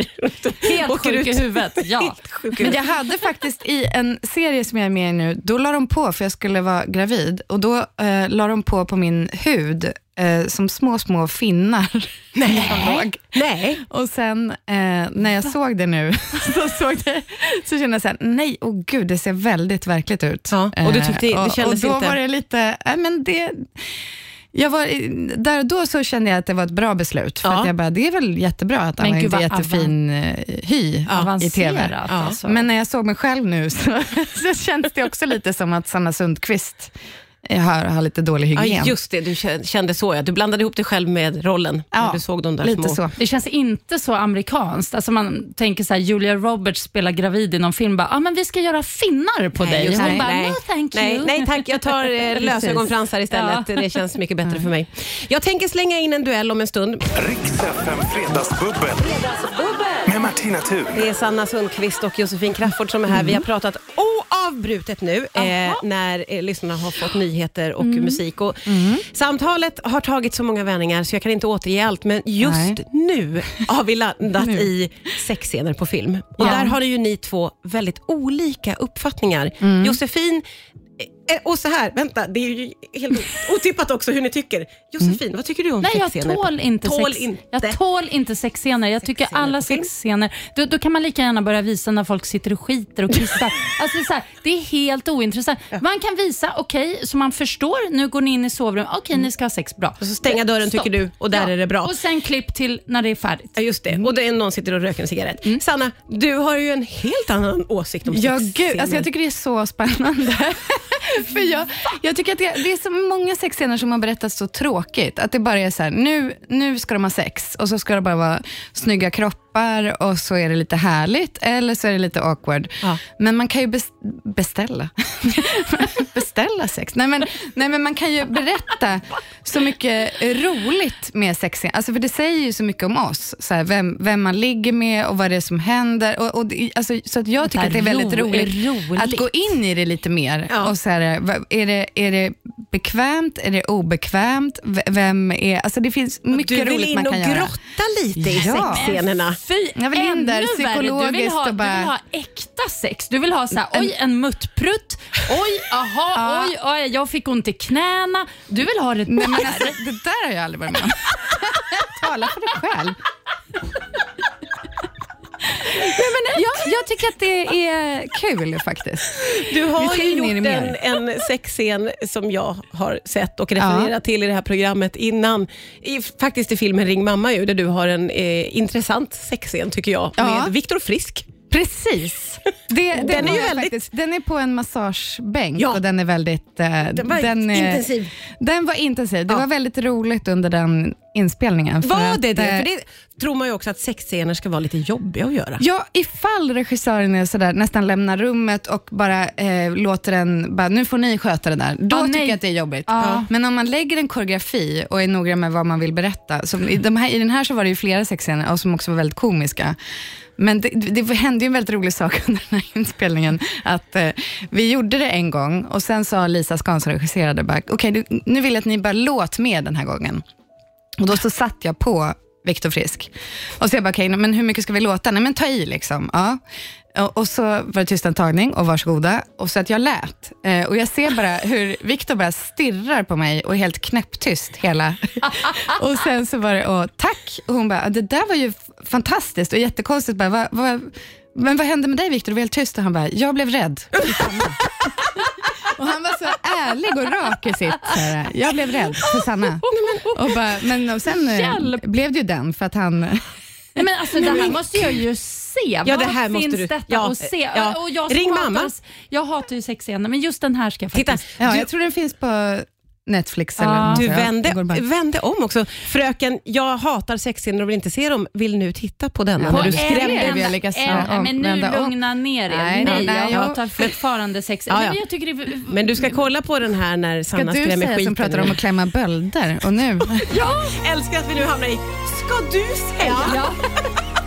[SPEAKER 4] Helt
[SPEAKER 2] åker ut.
[SPEAKER 4] sjuk i huvudet. Ja.
[SPEAKER 2] Helt sjuk i
[SPEAKER 3] Men
[SPEAKER 2] huvudet.
[SPEAKER 3] jag hade faktiskt i en serie som jag är med i nu, då la de på, för jag skulle vara gravid, och då eh, la de på på min hud eh, som små, små finnar.
[SPEAKER 2] Nej. Nej.
[SPEAKER 3] Och sen eh, när jag såg det nu, så, såg det, så kände jag så här, nej, åh gud, det ser väldigt verkligt ut.
[SPEAKER 2] Ja, och du tyckte- det
[SPEAKER 3] Eh, och-
[SPEAKER 2] kändes
[SPEAKER 3] Och då
[SPEAKER 2] inte-
[SPEAKER 3] var det lite, nej men det... Jag var, där och då så kände jag att det var ett bra beslut, för
[SPEAKER 2] Ja.
[SPEAKER 3] att jag bara, det är väl jättebra att
[SPEAKER 4] Men gud,
[SPEAKER 3] använda
[SPEAKER 4] vad
[SPEAKER 3] jättefin eh, hy i TV.
[SPEAKER 4] Avancerat
[SPEAKER 2] Ja.
[SPEAKER 4] alltså.
[SPEAKER 3] Men när jag såg mig själv nu så, så känns det också lite som att Sanna Sundqvist eh, har, har lite dålig
[SPEAKER 2] Ja,
[SPEAKER 3] hygien.
[SPEAKER 2] just det. Du kä- kände så, ja. Du blandade ihop dig själv med rollen. när
[SPEAKER 3] Ja,
[SPEAKER 2] du såg de där
[SPEAKER 3] lite
[SPEAKER 2] små.
[SPEAKER 3] så.
[SPEAKER 4] Det känns inte så amerikanskt. Alltså man tänker så här, Julia Roberts spelar gravid i någon film. Bara, ah, men vi ska göra finnar på dig.
[SPEAKER 2] just
[SPEAKER 4] Hon
[SPEAKER 2] det.
[SPEAKER 4] bara, no thank you.
[SPEAKER 2] nej, nej tack, jag tar eh,
[SPEAKER 4] Precis.
[SPEAKER 2] lösögonfransar istället. Det känns mycket bättre för mig. Jag tänker slänga in en duell om en stund.
[SPEAKER 1] Riks FM Fredagsbubbel. Med Martina Thun.
[SPEAKER 2] Det är Sanna Sundqvist och Josefin Crafoord som är här. Vi
[SPEAKER 4] Mm.
[SPEAKER 2] har pratat oavbrutet nu eh, när eh, lyssnarna har fått nyheter och
[SPEAKER 4] Mm.
[SPEAKER 2] musik. Och Samtalet har tagit så många vändningar så jag kan inte återge allt, men just
[SPEAKER 3] Nej.
[SPEAKER 2] nu har vi landat
[SPEAKER 3] Nu.
[SPEAKER 2] i sexscener på film. Och Där har ju ni två väldigt olika uppfattningar.
[SPEAKER 4] Mm.
[SPEAKER 2] Josefin, eh, och så här, vänta, det är ju helt otippat också hur ni tycker. Josefin, vad tycker du om
[SPEAKER 4] Mm. Nej, jag
[SPEAKER 2] sexscener?
[SPEAKER 4] tål inte,
[SPEAKER 2] tål
[SPEAKER 4] sex,
[SPEAKER 2] inte.
[SPEAKER 4] jag tål inte sexscener. Jag tycker
[SPEAKER 2] Sexscener
[SPEAKER 4] alla
[SPEAKER 2] på film.
[SPEAKER 4] sexscener, då, då kan man lika gärna börja visa när folk sitter och skiter och kissar. alltså, det är så här, det är helt ointressant. Man kan visa, okej, så man förstår, nu går ni in i sovrummet, okej ni ska ha sex, bra.
[SPEAKER 2] Och så stänga dörren
[SPEAKER 4] Stopp.
[SPEAKER 2] tycker du och där
[SPEAKER 4] Ja,
[SPEAKER 2] är det bra.
[SPEAKER 4] Och sen klipp till när det är färdigt.
[SPEAKER 2] Ja, just det.
[SPEAKER 3] Mm.
[SPEAKER 2] Och det är någon sitter och röker en cigarett. Sanna, du har ju en helt annan åsikt om
[SPEAKER 3] Ja,
[SPEAKER 2] sexscener.
[SPEAKER 3] gud, alltså jag tycker det är så spännande. För jag, jag tycker att det, det är så många sexscener som har berättats så tråkigt. Att det bara är så här, nu, nu ska de ha sex och så ska det bara vara snygga kroppar och så är det lite härligt eller så är det lite awkward.
[SPEAKER 2] Ja.
[SPEAKER 3] Men man kan ju bes, beställa. beställa sex. Nej men, nej, men man kan ju berätta så mycket roligt med sexscen. Alltså, för det säger ju så mycket om oss. Så här, vem, vem man ligger med och vad det är som händer. Och, och, det- alltså, så att jag jag tycker att det är
[SPEAKER 4] Där
[SPEAKER 3] väldigt
[SPEAKER 4] ro är
[SPEAKER 3] roligt,
[SPEAKER 4] roligt.
[SPEAKER 3] att gå in i det lite mer.
[SPEAKER 2] Ja.
[SPEAKER 3] Och så här, va- är, det, är det bekvämt? Är det obekvämt? V- Vem är... Alltså det finns
[SPEAKER 2] du
[SPEAKER 3] mycket
[SPEAKER 2] vill
[SPEAKER 3] roligt
[SPEAKER 2] in
[SPEAKER 3] man
[SPEAKER 2] och
[SPEAKER 3] kan göra.
[SPEAKER 2] grotta lite i
[SPEAKER 3] Ja.
[SPEAKER 2] sexscenerna.
[SPEAKER 4] Fy,
[SPEAKER 3] Jag vill in
[SPEAKER 4] ännu
[SPEAKER 3] där
[SPEAKER 4] värre. Du vill,
[SPEAKER 3] psykologiskt
[SPEAKER 4] ha,
[SPEAKER 3] och bara-
[SPEAKER 4] du vill ha äkta sex. Du vill ha så här, oj en muttprutt, oj, aha, oj, oj, jag fick ont i knäna. Du vill ha det
[SPEAKER 3] Nej, men alltså, det där har jag aldrig varit med om. Tala för dig själv. Nej, men jag, jag tycker att det är kul faktiskt.
[SPEAKER 2] Du
[SPEAKER 3] Vi
[SPEAKER 2] har
[SPEAKER 3] ska
[SPEAKER 2] ju
[SPEAKER 3] in i det
[SPEAKER 2] gjort en,
[SPEAKER 3] mer.
[SPEAKER 2] en sexscen som jag har sett och refererat till i det här programmet innan. I, faktiskt i filmen Ring mamma, ju, där du har en eh, intressant sexscen tycker jag,
[SPEAKER 3] Ja.
[SPEAKER 2] med Viktor Frisk.
[SPEAKER 3] Precis. Det, den,
[SPEAKER 2] Den är
[SPEAKER 3] är
[SPEAKER 2] ju väldigt-
[SPEAKER 3] faktiskt, den är på en massagebänk
[SPEAKER 2] Ja.
[SPEAKER 3] och den är väldigt... eh, den
[SPEAKER 2] var
[SPEAKER 3] eh,
[SPEAKER 2] intensiv.
[SPEAKER 3] Den var intensiv. Det
[SPEAKER 2] Ja.
[SPEAKER 3] var väldigt roligt under den inspelningen. för
[SPEAKER 2] Var
[SPEAKER 3] att,
[SPEAKER 2] det det?
[SPEAKER 3] eh,
[SPEAKER 2] För det tror man ju också att sexscener ska vara lite jobbiga att göra.
[SPEAKER 3] Ja, ifall regissören är sådär, nästan lämnar rummet och bara eh, låter en, bara, nu får ni sköta det där. Då
[SPEAKER 4] Ah,
[SPEAKER 3] tycker
[SPEAKER 4] nej.
[SPEAKER 3] jag att det är jobbigt.
[SPEAKER 4] Ja.
[SPEAKER 3] Men om man lägger en koreografi och är noga med vad man vill berätta. Som i, de här, I den här så var det ju flera sexscener och som också var väldigt komiska. Men det, det hände ju en väldigt rolig sak under den här inspelningen. Att eh, Vi gjorde det en gång och sen sa Lisa Skahn som regisserade, bara, okej nu- nu vill jag att ni bara låt med den här gången. Och då så satt jag på Viktor Frisk. Och så jag bara, okej, men hur mycket ska vi låta? Nej men ta i liksom. Ja. Och- Och så var det tyst en tagning och varsågoda. Och så att jag lät. Eh, och jag ser bara hur Viktor bara stirrar på mig och är helt knäpptyst hela. och sen så var det, och tack. Och hon bara, det där var ju f- fantastiskt och jättekonstigt. Bara, vad, vad, men vad hände med dig Viktor? Du var helt tyst. Och han bara, jag blev rädd. Och han var så ärlig och rak i sitt. Så här, jag blev rädd för Sanna. Och bara, men och sen eh,
[SPEAKER 4] Hjälp!
[SPEAKER 3] blev det ju den för att han...
[SPEAKER 4] Nej, men alltså, det här måste jag ju se.
[SPEAKER 2] Ja,
[SPEAKER 4] Var
[SPEAKER 2] det här
[SPEAKER 4] finns
[SPEAKER 2] måste du-
[SPEAKER 4] detta
[SPEAKER 2] ja,
[SPEAKER 4] att se?
[SPEAKER 2] ja.
[SPEAKER 4] Och jag som
[SPEAKER 2] Ring
[SPEAKER 4] hatar-
[SPEAKER 2] mamma.
[SPEAKER 4] Jag hatar ju sexscener, men just den här ska jag faktiskt...
[SPEAKER 2] Titta,
[SPEAKER 3] Ja,
[SPEAKER 2] du- Ah.
[SPEAKER 3] jag tror den finns på Netflix.
[SPEAKER 4] Ja.
[SPEAKER 3] Eller något,
[SPEAKER 2] Du
[SPEAKER 3] ja. Det går
[SPEAKER 2] vände,
[SPEAKER 3] bara-
[SPEAKER 2] vände om också. Fröken, jag hatar sexscener och vill inte se dem, vill nu titta på denna.
[SPEAKER 3] Ja.
[SPEAKER 2] när
[SPEAKER 4] På
[SPEAKER 2] du
[SPEAKER 4] en
[SPEAKER 2] skrämde.
[SPEAKER 3] skrämde
[SPEAKER 4] enda-
[SPEAKER 3] vi har lyckats
[SPEAKER 4] en-
[SPEAKER 3] om-
[SPEAKER 4] Men nu
[SPEAKER 3] vända om.
[SPEAKER 4] lugna ner er.
[SPEAKER 3] Nej,
[SPEAKER 4] Nej,
[SPEAKER 3] nej, nej,
[SPEAKER 4] jag
[SPEAKER 3] jag-
[SPEAKER 4] hatar fortfarande sex.
[SPEAKER 2] Ja, ja.
[SPEAKER 4] Nej, men jag tycker det är...
[SPEAKER 2] Men du ska kolla på den här när
[SPEAKER 3] Mm. Ska
[SPEAKER 2] Sanna
[SPEAKER 3] du
[SPEAKER 2] skrämmer
[SPEAKER 3] säga
[SPEAKER 2] skiten
[SPEAKER 3] som pratar om att klämma bölder och nu...
[SPEAKER 2] Älskar att vi nu hamnar i, ska du säga?
[SPEAKER 4] Ja.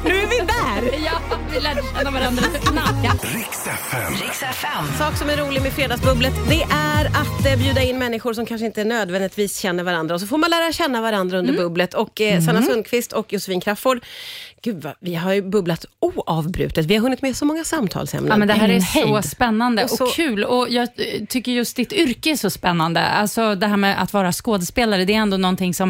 [SPEAKER 2] Nu är vi där!
[SPEAKER 4] Ja, vi lärde känna varandra snabbt. Ja.
[SPEAKER 1] Riks FM.
[SPEAKER 5] Riks FM.
[SPEAKER 2] sak som är rolig med Fredagsbubblet det är att eh, bjuda in människor som kanske inte nödvändigtvis känner varandra och så får man lära känna varandra under
[SPEAKER 3] Mm.
[SPEAKER 2] bubblet. Och eh, Sanna Sundqvist och Josefin Crafoord, gud vad, vi har ju bubblat oavbrutet. Vi har hunnit med så många samtalsämnen.
[SPEAKER 4] Ja, men det här är
[SPEAKER 2] Ingen
[SPEAKER 4] så
[SPEAKER 2] hejd.
[SPEAKER 4] spännande
[SPEAKER 2] Och
[SPEAKER 4] och,
[SPEAKER 2] så-
[SPEAKER 4] kul. Och jag eh, tycker just ditt yrke är så spännande. Alltså det här med att vara skådespelare, det är ändå någonting som...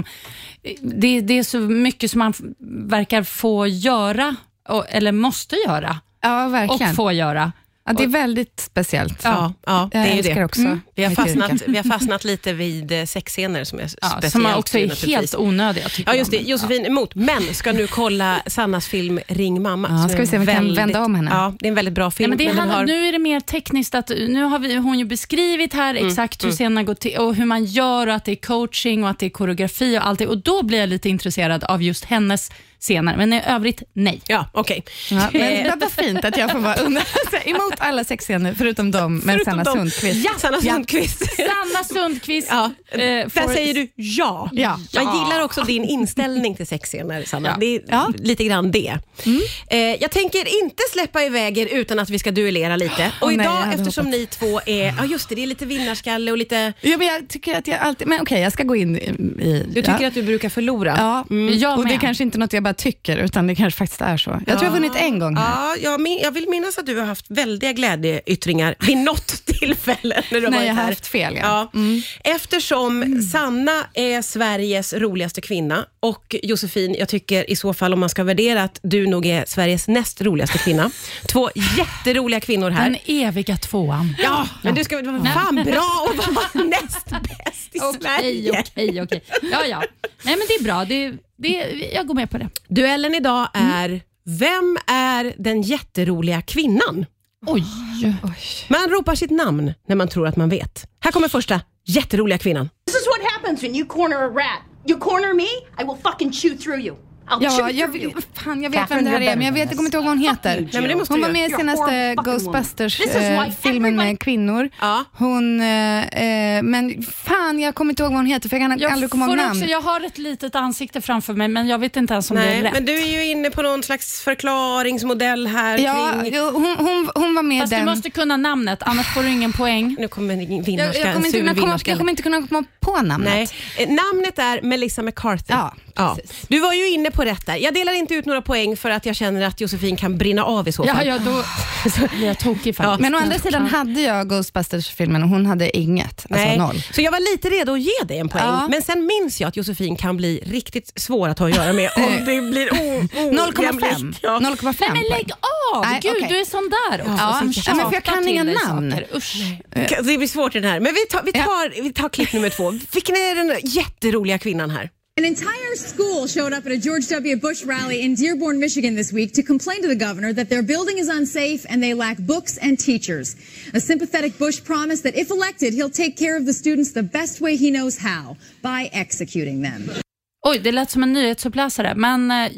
[SPEAKER 4] eh, Det, det är så mycket som man f- verkar få göra, och, eller måste göra,
[SPEAKER 3] Ja,
[SPEAKER 4] och
[SPEAKER 3] verkligen.
[SPEAKER 4] få göra.
[SPEAKER 3] Ja, det är väldigt speciellt.
[SPEAKER 2] Ja, ja, det
[SPEAKER 3] Jag
[SPEAKER 2] är ju
[SPEAKER 3] älskar
[SPEAKER 2] det. Mm.
[SPEAKER 3] också
[SPEAKER 2] Vi, har
[SPEAKER 3] mitt yrke.
[SPEAKER 2] fastnat, vi har fastnat lite vid eh, sexscener som är
[SPEAKER 4] Ja,
[SPEAKER 2] speciellt.
[SPEAKER 4] som också
[SPEAKER 2] ju
[SPEAKER 4] är
[SPEAKER 2] naturligtvis.
[SPEAKER 4] helt onödiga, tycker
[SPEAKER 2] Ja, just det.
[SPEAKER 4] jag.
[SPEAKER 2] Josefin emot, men ska nu kolla Sannas film Ring mamma.
[SPEAKER 3] Ja,
[SPEAKER 2] som
[SPEAKER 3] ska
[SPEAKER 2] är
[SPEAKER 3] vi se om vi kan
[SPEAKER 2] väldigt-
[SPEAKER 3] vända om henne.
[SPEAKER 2] Ja, det är en väldigt bra
[SPEAKER 4] Ja,
[SPEAKER 2] film.
[SPEAKER 4] men det
[SPEAKER 2] den
[SPEAKER 4] handlar,
[SPEAKER 2] har-
[SPEAKER 4] Nu är det mer tekniskt, att, nu har vi, hon ju beskrivit här exakt hur scenerna går till och hur man gör och att det är coaching och att det är koreografi och allt det. Och då blir jag lite intresserad av just hennes scener, men i övrigt nej.
[SPEAKER 2] Ja, okej.
[SPEAKER 3] Ja,
[SPEAKER 2] Eh,
[SPEAKER 3] men det var fint att jag får vara under, Alltså, emot alla sexscener förutom dem med
[SPEAKER 2] förutom
[SPEAKER 3] Sanna
[SPEAKER 2] dem.
[SPEAKER 3] Sundqvist.
[SPEAKER 2] Ja, Sanna Sundqvist.
[SPEAKER 4] Sanna Sundqvist.
[SPEAKER 2] Ja,
[SPEAKER 4] eh,
[SPEAKER 2] där
[SPEAKER 4] får-
[SPEAKER 2] säger du ja.
[SPEAKER 3] Ja.
[SPEAKER 2] Jag gillar också din inställning till sexscener, Sanna.
[SPEAKER 4] Ja.
[SPEAKER 2] Det är
[SPEAKER 3] Ja. Mm.
[SPEAKER 2] lite grann det. Eh, jag tänker inte släppa iväg er utan att vi ska duellera lite. Och
[SPEAKER 3] Åh, nej, jag
[SPEAKER 2] idag,
[SPEAKER 3] hade
[SPEAKER 2] eftersom ni två är... Ja, just det, det är lite vinnarskalle och lite...
[SPEAKER 3] Ja, men jag tycker att jag alltid, men okej jag ska gå in i... i
[SPEAKER 2] Du tycker
[SPEAKER 3] ja.
[SPEAKER 2] att du brukar förlora.
[SPEAKER 3] Ja, mm.
[SPEAKER 4] Jag
[SPEAKER 3] och det är
[SPEAKER 4] med.
[SPEAKER 3] kanske inte något jag bara tycker, utan det kanske faktiskt är så. Jag tror jag har vunnit en gång här.
[SPEAKER 2] Ja, jag, min- jag vill minnas att du har haft väldiga glädjeyttringar vid något tillfälle när du har
[SPEAKER 3] Nej,
[SPEAKER 2] varit
[SPEAKER 3] jag har
[SPEAKER 2] här.
[SPEAKER 3] haft fel, ja. Mm.
[SPEAKER 2] Eftersom Sanna är Sveriges roligaste kvinna och Josefin, jag tycker i så fall om man ska värdera att du nog är Sveriges näst roligaste kvinna. Två jätteroliga kvinnor här.
[SPEAKER 4] Den eviga tvåan.
[SPEAKER 2] Ja, men du ska väl vara fan bra och vara näst bäst i
[SPEAKER 4] Okej,
[SPEAKER 2] Sverige.
[SPEAKER 4] okej, okej. Ja, ja. Nej, men det är bra. Det, det, jag går med på det.
[SPEAKER 2] Duellen idag
[SPEAKER 3] Mm.
[SPEAKER 2] är Vem är den jätteroliga kvinnan?
[SPEAKER 4] Oj.
[SPEAKER 2] Man ropar sitt namn när man tror att man vet. Här kommer första jätteroliga kvinnan.
[SPEAKER 6] This is what happens when you corner a rat. You corner me, I will fucking chew through you. I'll
[SPEAKER 3] Ja,
[SPEAKER 6] chew
[SPEAKER 3] jag,
[SPEAKER 6] through you.
[SPEAKER 3] fan, jag vet vem det här är, men jag, vet, jag kommer inte ihåg vad hon heter.
[SPEAKER 2] men det måste
[SPEAKER 3] hon
[SPEAKER 2] du
[SPEAKER 3] var med i
[SPEAKER 6] göra.
[SPEAKER 3] senaste
[SPEAKER 6] You're a fucking woman. This is why
[SPEAKER 3] Ghostbusters-filmen
[SPEAKER 6] everybody-
[SPEAKER 3] med kvinnor.
[SPEAKER 2] Ja.
[SPEAKER 3] Hon, eh, eh, men fan, jag kommer inte ihåg vad hon heter, för jag kan aldrig
[SPEAKER 4] Jag,
[SPEAKER 3] komma ihåg
[SPEAKER 4] får
[SPEAKER 3] namn.
[SPEAKER 4] också, jag har ett litet ansikte framför mig, men jag vet inte ens om det är
[SPEAKER 2] Nej,
[SPEAKER 4] rätt.
[SPEAKER 2] men du är ju inne på någon slags förklaringsmodell här
[SPEAKER 3] Ja,
[SPEAKER 2] kring...
[SPEAKER 3] jo, hon, hon, hon var med i
[SPEAKER 4] Fast du
[SPEAKER 3] den.
[SPEAKER 4] måste kunna namnet, annars får du ingen poäng.
[SPEAKER 2] Nu kommer en
[SPEAKER 3] jag,
[SPEAKER 2] vinnarska,
[SPEAKER 3] jag, kommer
[SPEAKER 2] en
[SPEAKER 3] inte
[SPEAKER 2] sur
[SPEAKER 3] kunna komma,
[SPEAKER 2] vinnarskalle.
[SPEAKER 3] jag kommer inte kunna komma på namnet.
[SPEAKER 2] Nej. Eh, Namnet är Melissa McCarthy.
[SPEAKER 3] Ja, precis.
[SPEAKER 2] Du var ju inne på rätt där. Jag delar inte ut några poäng för att jag känner att Josefin kan brinna av i så fall.
[SPEAKER 4] Ja, ja, då blir jag tokig faktiskt.
[SPEAKER 3] Men å andra sidan hade jag Ghostbusters-filmen och hon hade inget, alltså
[SPEAKER 2] Nej.
[SPEAKER 3] noll.
[SPEAKER 2] Så jag var lite redo att ge dig en poäng,
[SPEAKER 3] Ja.
[SPEAKER 2] men sen minns jag att Josefin kan bli riktigt svår att ha att göra med om det blir o-
[SPEAKER 3] 0,5.
[SPEAKER 2] ojämlikt. Ja.
[SPEAKER 3] 0,5
[SPEAKER 4] Nej, men lägg av!
[SPEAKER 3] Nej,
[SPEAKER 4] Gud,
[SPEAKER 3] okej.
[SPEAKER 4] du är sån där också.
[SPEAKER 3] Ja,
[SPEAKER 4] som
[SPEAKER 3] ja, men för jag
[SPEAKER 4] tjatar
[SPEAKER 3] kan
[SPEAKER 4] till
[SPEAKER 3] inga
[SPEAKER 4] dig
[SPEAKER 3] namn.
[SPEAKER 4] saker. Usch.
[SPEAKER 2] Det blir svårt i den här, men vi tar, vi, tar, vi tar klipp nummer två. Vilken är den jätteroliga kvinnan här?
[SPEAKER 7] An entire school showed up at a George W. Bush rally in Dearborn, Michigan this week to complain to the governor that their building is unsafe and they lack books and teachers. A sympathetic Bush promised that if elected, he'll take care of the students the best way he knows how by executing them.
[SPEAKER 4] Oj, det lät som en nyhetsuppläsare, men eh,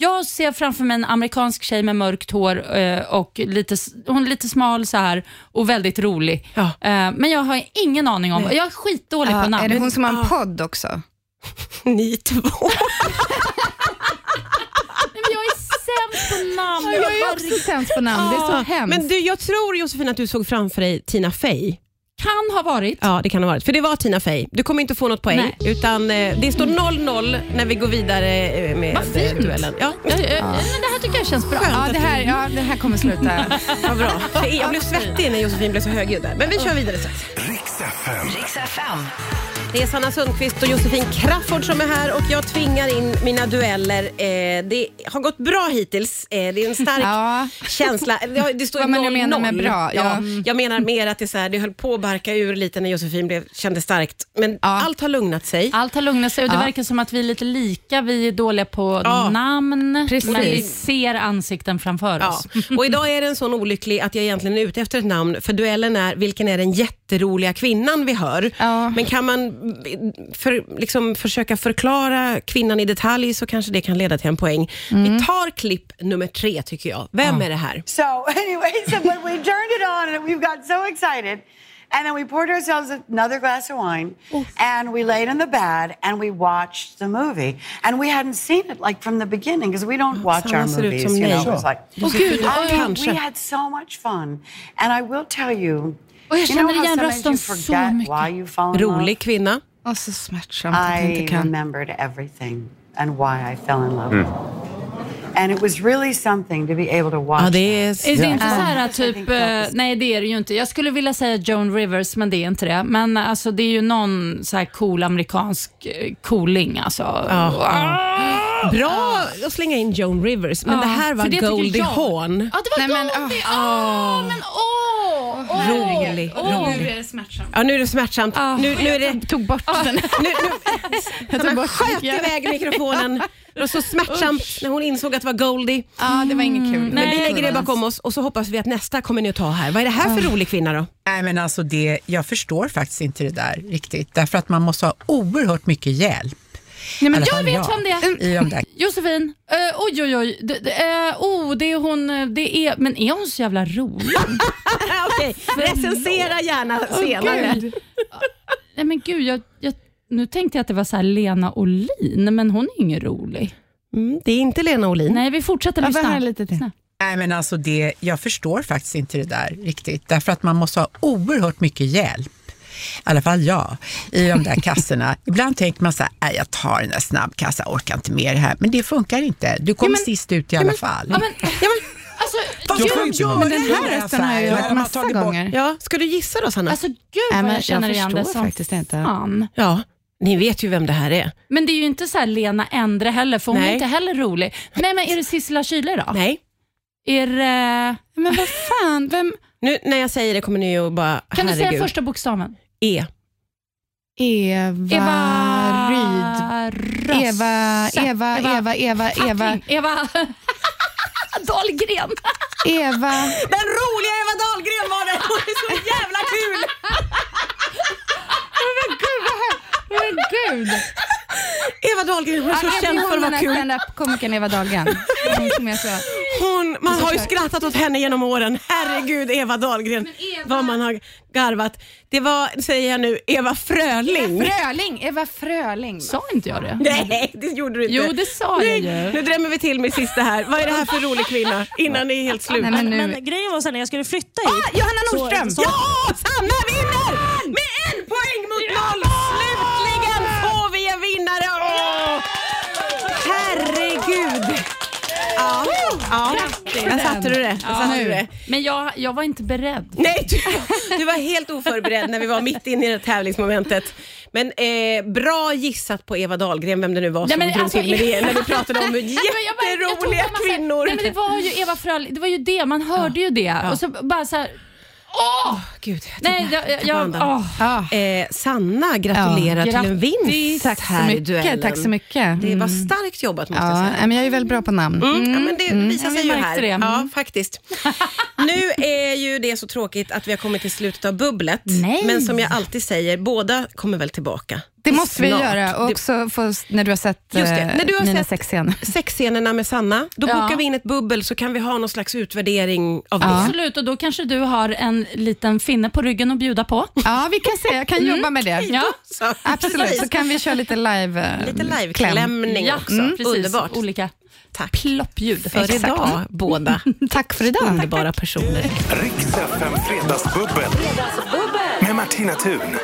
[SPEAKER 4] jag ser framför mig en amerikansk tjej med mörkt hår eh, och lite, s- hon är lite smal så här och väldigt rolig.
[SPEAKER 2] Ja.
[SPEAKER 4] Eh, men jag har ingen aning om, jag är skitdålig på
[SPEAKER 3] Ja,
[SPEAKER 4] namn.
[SPEAKER 3] är det hon som har en podd också?
[SPEAKER 2] Ni två.
[SPEAKER 4] Nej, men jag är sämst på namn.
[SPEAKER 3] Jag är också sämst på namn, det är så hemskt.
[SPEAKER 2] Men du, jag tror Josefin att du såg framför dig Tina Fey.
[SPEAKER 4] Kan ha varit.
[SPEAKER 2] Ja, det kan ha varit. För det var Tina Fey. Du kommer inte få något poäng,
[SPEAKER 4] Nej.
[SPEAKER 2] utan eh, det står 0-0 när vi går vidare eh, med
[SPEAKER 4] Vad fint.
[SPEAKER 2] eh, duellen. Ja,
[SPEAKER 4] Jag, jag, Men det här tycker jag känns bra.
[SPEAKER 3] Ja, det här, ja, det här kommer sluta.
[SPEAKER 2] vad bra. Jag blev svettig när Josefin blev så högljudd där. Men vi kör vidare strax.
[SPEAKER 1] Riks FM.
[SPEAKER 5] Riks FM.
[SPEAKER 2] Det är Sanna Sundqvist och Josefin Crafoord som är här och jag tvingar in mina dueller. Eh, det har gått bra hittills. Eh, det är en stark
[SPEAKER 3] Ja.
[SPEAKER 2] känsla. Det, har- det står
[SPEAKER 3] Vad man nu
[SPEAKER 2] 0-0.
[SPEAKER 3] menar med bra, ja.
[SPEAKER 2] Ja, jag menar mer att det, är så här, det höll på att barka ur lite när Josefin blev, kände starkt. Men allt har lugnat sig.
[SPEAKER 4] Allt har lugnat sig och det
[SPEAKER 3] Ja.
[SPEAKER 4] verkar som att vi är lite lika. Vi är dåliga på
[SPEAKER 2] Ja.
[SPEAKER 4] namn,
[SPEAKER 3] Precis.
[SPEAKER 4] men vi ser ansikten framför
[SPEAKER 2] Ja.
[SPEAKER 4] oss.
[SPEAKER 2] Och idag är den sån olycklig att jag egentligen är ute efter ett namn, för duellen är vilken är den jätteroliga kvinnan vi hör?
[SPEAKER 3] Ja.
[SPEAKER 2] Men kan man för, liksom försöka förklara kvinnan i detalj så kanske det kan leda till en poäng. Vi tar klipp nummer tre tycker jag. Vem är det här?
[SPEAKER 8] So anyway, so when we turned it on and we got so excited
[SPEAKER 5] And then we poured ourselves another glass of wine and we laid in the bed and we watched the movie. And we hadn't seen it like from the beginning because we don't watch our
[SPEAKER 2] samma ser ut
[SPEAKER 5] movies.
[SPEAKER 2] som
[SPEAKER 5] You
[SPEAKER 2] mig.
[SPEAKER 5] know, it was like,
[SPEAKER 2] Åh, gud,
[SPEAKER 5] I
[SPEAKER 2] oj,
[SPEAKER 5] mean,
[SPEAKER 2] kanske.
[SPEAKER 5] we had so much fun. And I will tell you,
[SPEAKER 4] Och jag
[SPEAKER 5] you
[SPEAKER 4] känner
[SPEAKER 5] know how
[SPEAKER 4] igen
[SPEAKER 5] sometimes
[SPEAKER 4] rösten
[SPEAKER 5] you
[SPEAKER 4] så
[SPEAKER 5] forget
[SPEAKER 4] mycket.
[SPEAKER 5] why you fall in love?
[SPEAKER 2] Rolig kvinna.
[SPEAKER 3] Och så smärtsamt att jag
[SPEAKER 5] I
[SPEAKER 3] inte kan.
[SPEAKER 5] remembered everything and why I fell in love. And it was really something to be able to watch.
[SPEAKER 2] Ja, det är...
[SPEAKER 4] Är det inte så här
[SPEAKER 5] Ja.
[SPEAKER 4] typ, eh, nej det är det ju inte. Jag skulle vilja säga Joan Rivers, men det är inte det. Men alltså det är ju någon så här cool amerikansk eh, cooling alltså.
[SPEAKER 2] Bra att slänga in Joan Rivers, men
[SPEAKER 4] Ja,
[SPEAKER 2] det här var
[SPEAKER 4] för tycker
[SPEAKER 2] Goldie
[SPEAKER 4] jag.
[SPEAKER 2] Hawn.
[SPEAKER 4] Ja, det
[SPEAKER 3] Nej,
[SPEAKER 4] var
[SPEAKER 3] men,
[SPEAKER 4] Goldie.
[SPEAKER 3] åh.
[SPEAKER 4] Åh, men åh! åh.
[SPEAKER 2] Rolig,
[SPEAKER 4] Åh.
[SPEAKER 2] rolig.
[SPEAKER 4] det smärtsamt. Ah.
[SPEAKER 2] Ja, nu är det smärtsamt. Nu, nu är det... Ah.
[SPEAKER 3] Tog bort den.
[SPEAKER 2] Nu, nu, jag
[SPEAKER 3] tog bort
[SPEAKER 2] sköt
[SPEAKER 3] micken.
[SPEAKER 2] iväg mikrofonen. Det var så smärtsamt när hon insåg att det var Goldie.
[SPEAKER 3] Ja, det var inget kul.
[SPEAKER 2] Men vi Mm. lägger det bakom oss och så hoppas vi att nästa kommer ni att ta här. Vad är det här för rolig kvinna då?
[SPEAKER 8] Nej, men alltså det, jag förstår faktiskt inte det där riktigt. Därför att man måste ha oerhört mycket hjälp.
[SPEAKER 4] Nej, men
[SPEAKER 8] I alla
[SPEAKER 4] jag
[SPEAKER 8] fall
[SPEAKER 4] vet
[SPEAKER 8] jag.
[SPEAKER 4] vem det
[SPEAKER 3] Mm,
[SPEAKER 4] är.
[SPEAKER 8] I de där.
[SPEAKER 4] Josefin, Eh, oj oj oj, D- d- eh, oh, det är hon, eh, det är, men är hon så jävla rolig?
[SPEAKER 2] Ah, Okej, recensera gärna senare.
[SPEAKER 4] Åh, gud. Nej men gud, jag, jag, nu tänkte jag att det var så här Lena Olin, men hon är ingen rolig.
[SPEAKER 2] Mm, det är inte Lena Olin.
[SPEAKER 4] Nej, vi fortsätter
[SPEAKER 3] Ja,
[SPEAKER 4] lyssna.
[SPEAKER 3] bara här lite till.
[SPEAKER 4] Lyssna.
[SPEAKER 8] Nej, men alltså det, jag förstår faktiskt inte det där riktigt. Därför att man måste ha oerhört mycket hjälp. I alla fall jag, i de där kassorna. Ibland tänker man så här, "Nej, jag tar den där snabbkassan, jag orkar inte med det här. Men det funkar inte. Du kommer sist ut i alla fall.
[SPEAKER 4] Ja, men, ja, men, alltså,
[SPEAKER 8] Vad
[SPEAKER 4] gud,
[SPEAKER 8] ska de göra
[SPEAKER 3] Den
[SPEAKER 8] i
[SPEAKER 3] här rösten har jag ju
[SPEAKER 8] affären?
[SPEAKER 3] hört massa gånger.
[SPEAKER 2] Ja, ska du gissa då Sanna?
[SPEAKER 4] alltså, gud
[SPEAKER 3] Nej,
[SPEAKER 4] vad
[SPEAKER 3] men
[SPEAKER 4] jag känner
[SPEAKER 3] jag
[SPEAKER 4] igen det
[SPEAKER 3] förstår
[SPEAKER 4] som
[SPEAKER 3] faktiskt inte.
[SPEAKER 4] fan.
[SPEAKER 2] Ja, ni vet ju vem det här är.
[SPEAKER 4] Men det är ju inte så här Lena Endre heller, för hon
[SPEAKER 2] Nej.
[SPEAKER 4] är inte heller rolig. Nej, men är det Sissela Kyle då?
[SPEAKER 2] Nej,
[SPEAKER 4] Är eh, det,
[SPEAKER 3] Men vad fan, vem
[SPEAKER 2] nu när jag säger det kommer ni ju bara,
[SPEAKER 4] kan du
[SPEAKER 2] herregud.
[SPEAKER 4] säga första bokstaven?
[SPEAKER 2] E.
[SPEAKER 3] Eva, Ryd?
[SPEAKER 4] Röse.
[SPEAKER 3] Eva, Eva, Eva, Eva, Eva,
[SPEAKER 4] Tackling. Eva Dahlgren.
[SPEAKER 3] Eva.
[SPEAKER 2] Den roliga Eva Dahlgren var det! Hon är så jävla kul!
[SPEAKER 3] Men gud.
[SPEAKER 2] Eva Dahlgren, hon är så känd för att vara kul.
[SPEAKER 3] Standup-komikern Eva Dahlgren. Hon som är så...
[SPEAKER 2] Hon, man har ju skrattat åt henne genom åren. Herregud Eva Dahlgren, vad man har garvat. Det var, säger jag nu, Eva Fröling.
[SPEAKER 3] Fröling, Eva Fröling.
[SPEAKER 4] Sa inte jag det?
[SPEAKER 2] Nej, det gjorde du inte.
[SPEAKER 4] Jo, det sa jag
[SPEAKER 2] Nu,
[SPEAKER 4] ju.
[SPEAKER 2] nu drämmer vi till med sista här. Vad är det här för rolig kvinna? Innan ni är helt slut.
[SPEAKER 3] Nej, men nu.
[SPEAKER 9] Men grejen var sen när jag skulle flytta hit.
[SPEAKER 3] Ah, Johanna
[SPEAKER 9] så-
[SPEAKER 3] Nordström!
[SPEAKER 9] så-
[SPEAKER 2] Ja! Sanna vinner! Med en poäng mot noll! Slutligen får vi en vinnare! Åh! Herregud! Ja, ja. Där satte du det. Där satte du det.
[SPEAKER 4] Men jag, jag var inte beredd.
[SPEAKER 2] Nej, du, du var helt oförberedd när vi var mitt inne i det tävlingsmomentet. Men eh, bra gissat på Eva Dahlgren, vem det nu var som
[SPEAKER 4] Nej, men
[SPEAKER 2] drog
[SPEAKER 4] alltså,
[SPEAKER 2] till med det när vi pratade om
[SPEAKER 4] Nej, men jag bara- jag tog
[SPEAKER 2] jätteroliga
[SPEAKER 4] en massa-
[SPEAKER 2] kvinnor.
[SPEAKER 4] Nej, men det var ju Eva Fröling, det var ju det, man hörde ju det. Och så bara så här, åh!
[SPEAKER 2] Gud,
[SPEAKER 4] Nej, jag, jag, jag, åh.
[SPEAKER 3] Ja.
[SPEAKER 2] Eh, Sanna gratulerar
[SPEAKER 4] Ja.
[SPEAKER 2] till en vinst
[SPEAKER 3] Tack så
[SPEAKER 2] här i duellen.
[SPEAKER 3] mycket. Tack så mycket. Mm.
[SPEAKER 2] Det var starkt jobbat måste jag
[SPEAKER 3] Ja,
[SPEAKER 2] säga.
[SPEAKER 3] men jag är väldigt bra på namn.
[SPEAKER 2] Mm, Ja, men det visar
[SPEAKER 4] Ja, vi
[SPEAKER 2] sig ju
[SPEAKER 4] märkte
[SPEAKER 2] här.
[SPEAKER 4] det.
[SPEAKER 2] Ja,
[SPEAKER 4] Mm.
[SPEAKER 2] faktiskt. Nu är ju det så tråkigt att vi har kommit till slutet av bubblet.
[SPEAKER 4] Nej.
[SPEAKER 2] Men som jag alltid säger, båda kommer väl tillbaka.
[SPEAKER 3] Det måste vi
[SPEAKER 2] Snart.
[SPEAKER 3] göra. Och också få, när du har sett
[SPEAKER 2] Just det.
[SPEAKER 3] eh,
[SPEAKER 2] När du har
[SPEAKER 3] mina
[SPEAKER 2] sett-
[SPEAKER 3] sexscener.
[SPEAKER 2] sexscenerna med Sanna, då
[SPEAKER 4] Ja.
[SPEAKER 2] bokar vi in ett bubbel så kan vi ha någon slags utvärdering av det.
[SPEAKER 4] Absolut, och då kanske du har en liten finne på ryggen att bjuda på.
[SPEAKER 3] Ja, vi kan se. Jag kan jobba med det.
[SPEAKER 4] Ja,
[SPEAKER 2] Så,
[SPEAKER 3] Absolut, så
[SPEAKER 2] precis.
[SPEAKER 3] kan vi köra lite live eh,
[SPEAKER 2] Lite
[SPEAKER 3] kläm.
[SPEAKER 2] liveklämning
[SPEAKER 4] ja
[SPEAKER 2] också.
[SPEAKER 4] mm, precis.
[SPEAKER 2] Underbart.
[SPEAKER 4] Olika
[SPEAKER 2] Tack
[SPEAKER 4] ploppljud.
[SPEAKER 2] för idag båda
[SPEAKER 3] Tack för idag.
[SPEAKER 2] underbara personer.
[SPEAKER 1] Riks FM Fredagsbubbel. Med Martina Thun.